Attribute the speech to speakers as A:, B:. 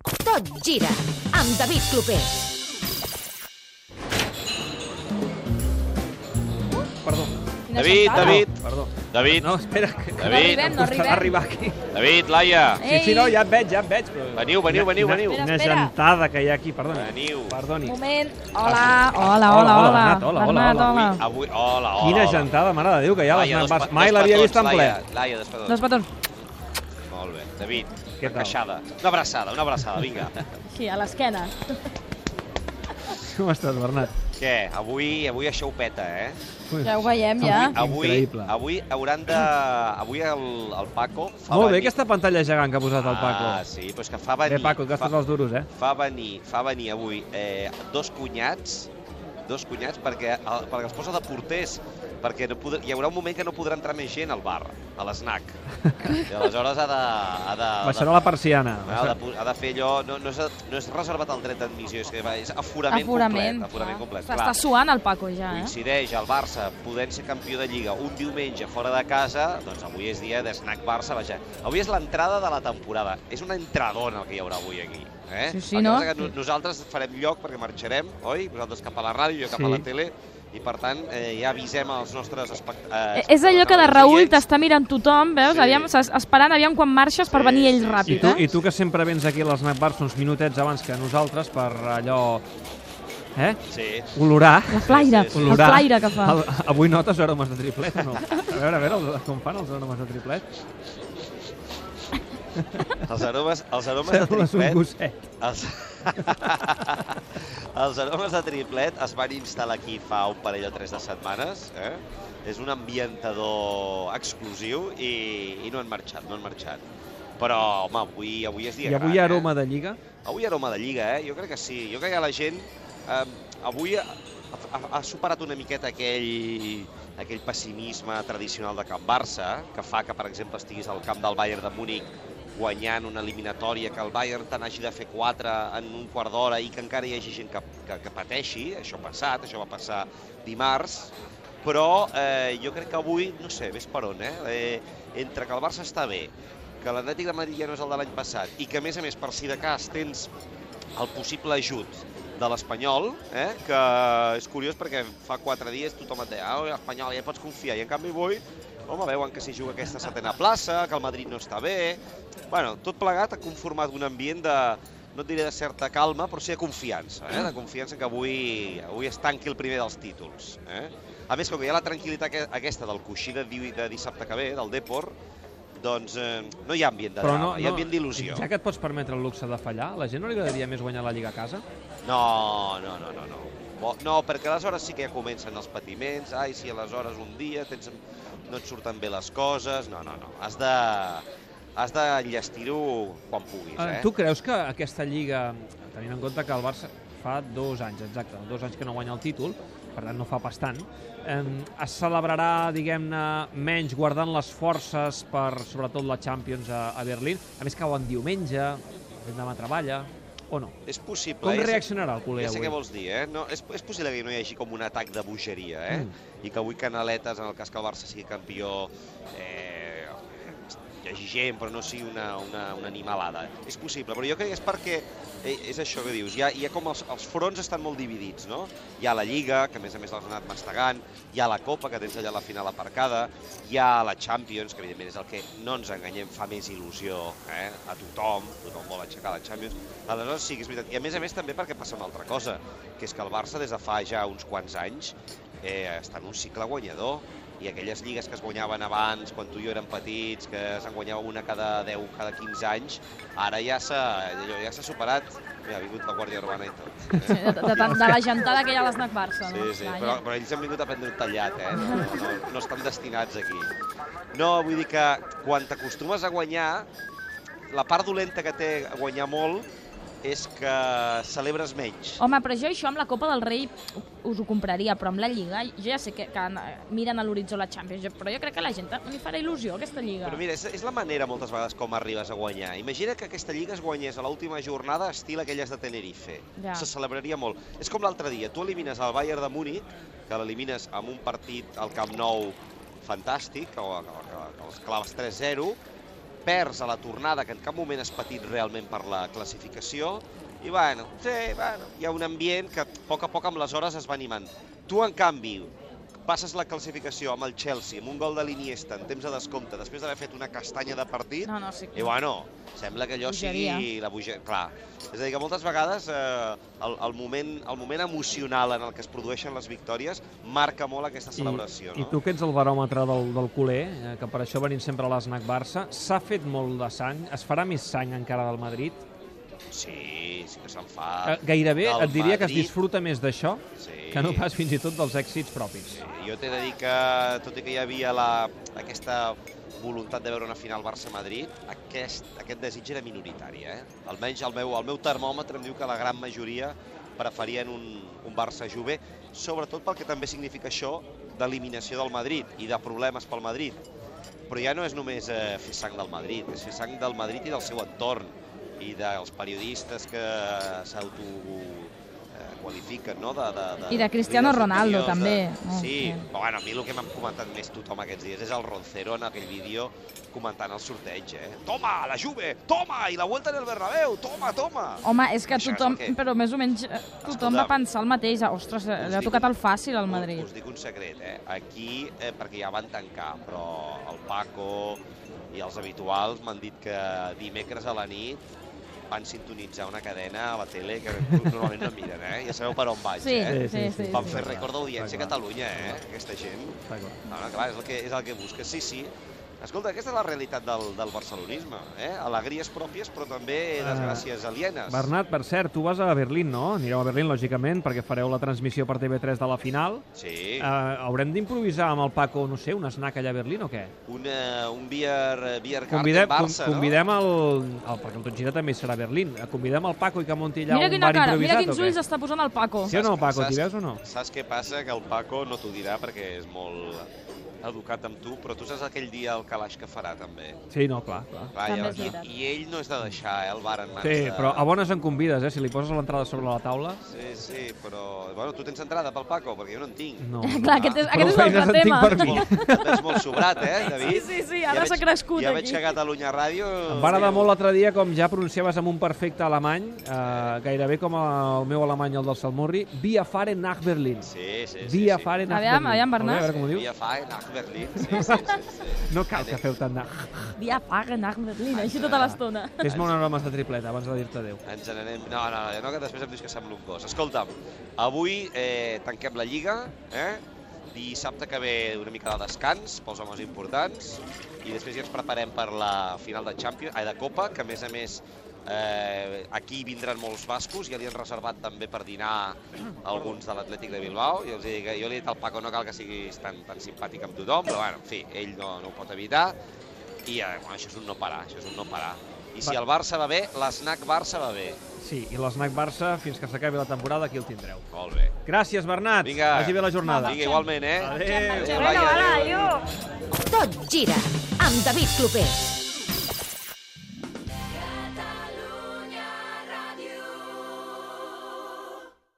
A: Tot gira amb David Clopés.
B: Perdó, Ah,
C: David, David,
B: perdó.
C: David,
B: No, espera, que
C: David.
D: arribem, no
B: em costarà
D: arribem.
B: arribar aquí.
C: David, Laia,
B: Sí, sí, no, ja et veig, ja et veig. Però...
C: Veniu, veniu, veniu,
B: Una-
C: veniu.
B: Una
D: Espera, espera.
B: gentada que hi ha aquí, perdoni.
C: Veniu.
B: Perdoni. Ah,
D: Moment. Hola, hola, hola,
B: Hola,
D: hola.
B: Bernat, hola, hola,
D: Bernat,
B: hola.
D: hola.
C: avui... Ah, Hola, hola,
B: Quina
C: hola.
B: gentada, mare de Déu, que hi ha les
C: Laia, dos
B: mans.
C: pa-
B: Mai
C: dos
B: l'havia
C: petons,
B: vist en ple.
C: Laia, Laia, dos petons.
D: Dos petons.
C: Molt bé. David,
B: Què
C: una
B: tal?
C: queixada. Una abraçada, una abraçada, vinga.
D: Aquí, a l'esquena.
B: Com estàs, Bernat?
C: Què? Avui, avui això ho peta, eh?
B: Ui.
D: Ja ho veiem, ja.
C: Avui,
B: Increïble.
C: avui hauran de... Avui el, el Paco fa
B: Molt bé,
C: venir...
B: aquesta pantalla gegant que ha posat el Paco.
C: Ah, sí, però és que fa venir...
B: Bé, Paco, et gastes
C: fa,
B: els duros, eh?
C: fa venir, fa venir avui eh, dos cunyats dos cunyats perquè, el, perquè els posa de porters perquè no pod hi haurà un moment que no podrà entrar més gent al bar, a l'esnac. I aleshores ha de... Ha de
B: Baixarà la persiana.
C: Ha Ah, de, pu- ha de fer allò, no, no, és, no és reservat al dret d'admissió, és, que va- és aforament, complet. Aforament
D: clar.
C: complet,
D: S'està suant el Paco ja, eh?
C: Coincideix el Barça podent ser campió de Lliga un diumenge fora de casa, doncs avui és dia d'Snack Barça, vaja. Avui és l'entrada de la temporada. És una entradona el que hi haurà avui aquí. Eh?
D: Sí, sí,
C: El que
D: no?
C: passa Que no, nosaltres farem lloc perquè marxarem, oi? Vosaltres cap a la ràdio, jo cap
B: Sí.
C: a la tele, i per tant eh, ja avisem als nostres espectadors.
D: Eh, És allò que de Raül t'està mirant tothom, veus?
C: Sí.
D: Aviam, s'es- esperant, aviam quan marxes per
C: Sí,
D: venir ell
C: sí, sí.
B: I
D: ràpid,
B: tu,
D: eh?
B: I tu que sempre vens aquí a l'Snack Bars uns minutets abans que nosaltres per allò... Eh?
C: Sí.
B: Olorar.
D: La flaire,
C: Sí, sí, sí.
D: el flaire que fa.
B: El, avui notes aromes de triplet o no? A veure, a veure, els- com fan els aromes de triplet?
C: Els aromes, els aromes de
B: Sembles un
C: triplet...
B: gosset.
C: Els... els aromes de triplet es van instal·lar aquí fa un parell o tres de setmanes. Eh? És un ambientador exclusiu i, i no han marxat, no han marxat. Però, home, avui, avui és dia
B: I avui hi
C: gran,
B: ha aroma de lliga?
C: Eh? Avui hi ha aroma de lliga, eh? Jo crec que sí. Jo crec que la gent eh, avui ha, ha, ha superat una miqueta aquell, aquell pessimisme tradicional de Camp Barça, que fa que, per exemple, estiguis al camp del Bayern de Múnich guanyant una eliminatòria, que el Bayern te n'hagi de fer quatre en un quart d'hora i que encara hi hagi gent que, que, que pateixi, això ha passat, això va passar dimarts, però eh, jo crec que avui, no sé, ves per on, eh? eh entre que el Barça està bé, que l'Atlètic de Madrid ja no és el de l'any passat i que, a més a més, per si de cas tens el possible ajut de l'Espanyol, eh? que és curiós perquè fa quatre dies tothom et deia ah, l'Espanyol ja hi pots confiar, i en canvi avui home, veuen que s'hi juga aquesta setena plaça, que el Madrid no està bé... Bueno, tot plegat ha conformat un ambient de, no et diré de certa calma, però sí de confiança, eh? de confiança que avui, avui es tanqui el primer dels títols. Eh? A més, com que hi ha la tranquil·litat que- aquesta del coixí de, di- de dissabte que ve, del Depor, doncs eh, no hi ha ambient de
B: Però
C: drama,
B: no,
C: hi ha
B: no,
C: ambient d'il·lusió.
B: Ja que et pots permetre el luxe de fallar, la gent no li agradaria més guanyar la Lliga a casa?
C: No, no, no, no, no. Bo- No, perquè aleshores sí que ja comencen els patiments. Ai, si aleshores un dia tens, no et surten bé les coses. No, no, no. Has de, has de llestir-ho quan puguis,
B: Eh,
C: eh?
B: tu creus que aquesta Lliga, tenint en compte que el Barça fa dos anys, exacte, dos anys que no guanya el títol, per tant no fa pas tant, eh, es celebrarà, diguem-ne, menys guardant les forces per, sobretot, la Champions a, a Berlín? A més, cauen diumenge, demà treballa, o no?
C: És possible. eh?
B: Com
C: ja sé-
B: reaccionarà el culer
C: Ja sé què
B: avui?
C: vols dir, eh? No, és, és possible que no hi hagi com un atac de bogeria, eh? Mm. I que avui Canaletes, en el cas que el Barça sigui campió, eh, hi hagi gent, però no sigui una, una, una animalada. És possible, però jo crec que és perquè, eh, és això que dius, hi ha, hi ha com els, els fronts estan molt dividits, no? Hi ha la Lliga, que a més a més l'has anat mastegant, hi ha la Copa, que tens allà la final aparcada, hi ha la Champions, que evidentment és el que, no ens enganyem, fa més il·lusió eh? a tothom, tothom vol aixecar la Champions. Aleshores sí que és veritat, i a més a més també perquè passa una altra cosa, que és que el Barça des de fa ja uns quants anys eh, està en un cicle guanyador i aquelles lligues que es guanyaven abans, quan tu i jo érem petits, que se'n guanyava una cada 10, cada 15 anys, ara ja s'ha allò ja s'ha superat. Mira, ha vingut la Guàrdia Urbana i tot.
D: Sí, De, de, de, de la gentada que hi ha a l'Snac Barça.
C: Sí,
D: no?
C: sí,
D: Vaja.
C: però, però ells han vingut a prendre un tallat, eh? No, no, no estan destinats aquí. No, vull dir que quan t'acostumes a guanyar, la part dolenta que té guanyar molt és que celebres menys.
D: Home, però jo això amb la Copa del Rei us ho compraria, però amb la Lliga, jo ja sé que, que eh, miren a l'horitzó la Champions, però jo crec que a la gent li farà il·lusió aquesta Lliga.
C: Però mira, és, és la manera moltes vegades com arribes a guanyar. Imagina que aquesta lliga es guanyés a l'última jornada estil aquelles de Tenerife.
D: Ja.
C: Se celebraria molt. És com l'altre dia, tu elimines el Bayern de Múnich, que l'elimines amb un partit al Camp Nou fantàstic, que, que, que, que els claves 3-0, perds a la tornada, que en cap moment has patit realment per la classificació, i bueno, sí, bueno, hi ha un ambient que a poc a poc amb les hores es va animant. Tu, en canvi, passes la classificació amb el Chelsea, amb un gol de l'Iniesta, en temps de descompte, després d'haver fet una castanya de partit,
D: No, no, sí.
C: i bueno, sembla que allò
D: Bogeria.
C: sigui la bogeria. Clar, és a dir, que moltes vegades eh, el, el, moment, el moment emocional en el que es produeixen les victòries marca molt aquesta celebració.
B: I,
C: no?
B: I tu que ets el baròmetre del, del culer, eh, que per això venim sempre a l'Snac Barça, s'ha fet molt de sang, es farà més sang encara del Madrid?
C: Sí, sí que se'n fa.
B: Eh, Gairebé
C: Ah, Del
B: et diria que es
C: Madrid.
B: disfruta més d'això
C: Sí.
B: que no pas fins i tot dels èxits propis.
C: Sí, jo t'he de dir que, tot i que hi havia la, aquesta voluntat de veure una final Barça-Madrid, aquest, aquest desig era minoritari. Eh? Almenys el meu, el meu termòmetre em diu que la gran majoria preferien un, un Barça-Juve, sobretot pel que també significa això d'eliminació del Madrid i de problemes pel Madrid. Però ja no és només eh, fer sang del Madrid, és fer sang del Madrid i del seu entorn i dels periodistes que s'auto eh, qualifiquen, no? De, de, de,
D: I de Cristiano
C: líders
D: Ronaldo,
C: opiniós,
D: també. Oh,
C: Sí,
D: sí.
C: però bueno, a mi el que m'han comentat més tothom aquests dies és el Roncero en aquell vídeo comentant el sorteig, eh? Toma, la Juve! Toma! I la Vuelta en el Bernabéu! Toma, toma!
D: Home, és que
C: Això és
D: tothom,
C: el que-
D: però més o menys, eh, tothom
C: Escolta'm.
D: va pensar el mateix. Ostres, eh, li ha
C: dic-
D: tocat el fàcil al
C: Us,
D: Madrid.
C: us dic un secret, eh? Aquí, eh, perquè ja van tancar, però el Paco i els habituals m'han dit que dimecres a la nit van sintonitzar una cadena a la tele que normalment no miren, eh? Ja sabeu per on vaig,
D: Sí,
C: eh?
D: sí, sí. sí,
C: Van
B: sí.
C: fer rècord d'audiència a
B: Clar, clar.
C: Catalunya, eh? Aquesta gent.
B: D'acord.
C: No, no, clar, és el que, és el que busques, sí, sí. Escolta, aquesta és la realitat del, del barcelonisme, eh? Alegries pròpies, però també
B: Ah.
C: desgràcies alienes.
B: Bernat, per cert, tu vas a Berlín, no? Anireu a Berlín, lògicament, perquè fareu la transmissió per TV3 de la final.
C: Sí,
B: Eh, haurem d'improvisar amb el Paco, no sé, un snack allà a Berlín o què?
C: un, eh, un beer, beer
B: Convidem,
C: garden Barça,
B: com, convidem el, el, perquè el Tot Gira també serà a Berlín, Eh, convidem el Paco i que munti allà
D: Mira
B: un
D: quina
B: bar
D: cara, mira
B: improvisat
D: quins
B: o
D: ulls
B: què?
D: està posant el Paco.
B: Sí o no,
C: Saps-
B: Paco, t'hi
C: saps-
B: veus o no?
C: no? Saps què passa? Que el Paco no t'ho dirà perquè és molt educat amb tu, però tu saps aquell dia el calaix que farà, també.
B: Sí, no, clar, clar.
C: Clar,
D: També
C: llavors,
D: és veritat.
C: i, I ell no és de deixar eh, el bar en mans
B: Sí,
C: de...
B: però a bones en convides, eh? Si li poses l'entrada sobre la taula...
C: Sí, sí, però... Bueno, tu tens entrada pel Paco, perquè jo no en tinc.
B: No.
D: Clar, aquest és, aquest és
B: Prou feines
D: l'altre
B: en tinc
D: tema.
B: per mi.
C: Molt, és molt sobrat, eh, David?
D: Sí, sí, sí, ara
C: veig-
D: s'ha crescut
C: ja
D: aquí.
C: veig que a Catalunya Ràdio...
B: Em va agradar molt l'altre dia com ja pronunciaves amb un perfecte alemany, eh, gairebé com el meu alemany, el del Salmurri, Via Faren nach Berlin.
C: Sí, sí, sí.
B: Via
C: sí.
B: Faren nach
D: Aviam,
B: Berlin.
D: aviam, Bernat.
B: Molt bé, A veure com ho diu.
C: Via Fire, nach Berlín. Sí, sí, sí, sí, sí.
B: No cal que feu tant nach.
D: Dia paga, anar amb Berlín, així tota l'estona.
B: Fes-me una hora més de tripleta abans de dir-te adéu.
C: Ens n'anem... No, no, no, no, que després em dius que sembla un gos. Escolta'm, avui eh, tanquem la Lliga, eh? Dissabte que ve una mica de descans pels homes importants i després ja ens preparem per la final de Champions, eh, de Copa, que a més a més eh, aquí vindran molts bascos, ja li han reservat també per dinar alguns de l'Atlètic de Bilbao, i els he dit que jo li he dit al Paco no cal que siguis tan, tan simpàtic amb tothom, però bueno, en fi, ell no, no ho pot evitar, i eh, bueno, això és un no parar, això és un no parar. I si
B: Va.
C: el Barça va bé, l'esnac Barça va bé.
B: Sí, i l'esnac Barça, fins que s'acabi la temporada, aquí el tindreu.
C: Molt bé.
B: Gràcies, Bernat.
C: Vinga.
B: Vagi bé la jornada.
C: Vinga, igualment, eh?
B: Adéu.
C: Adéu, Laia, adéu.
A: Tot gira amb David Clopés.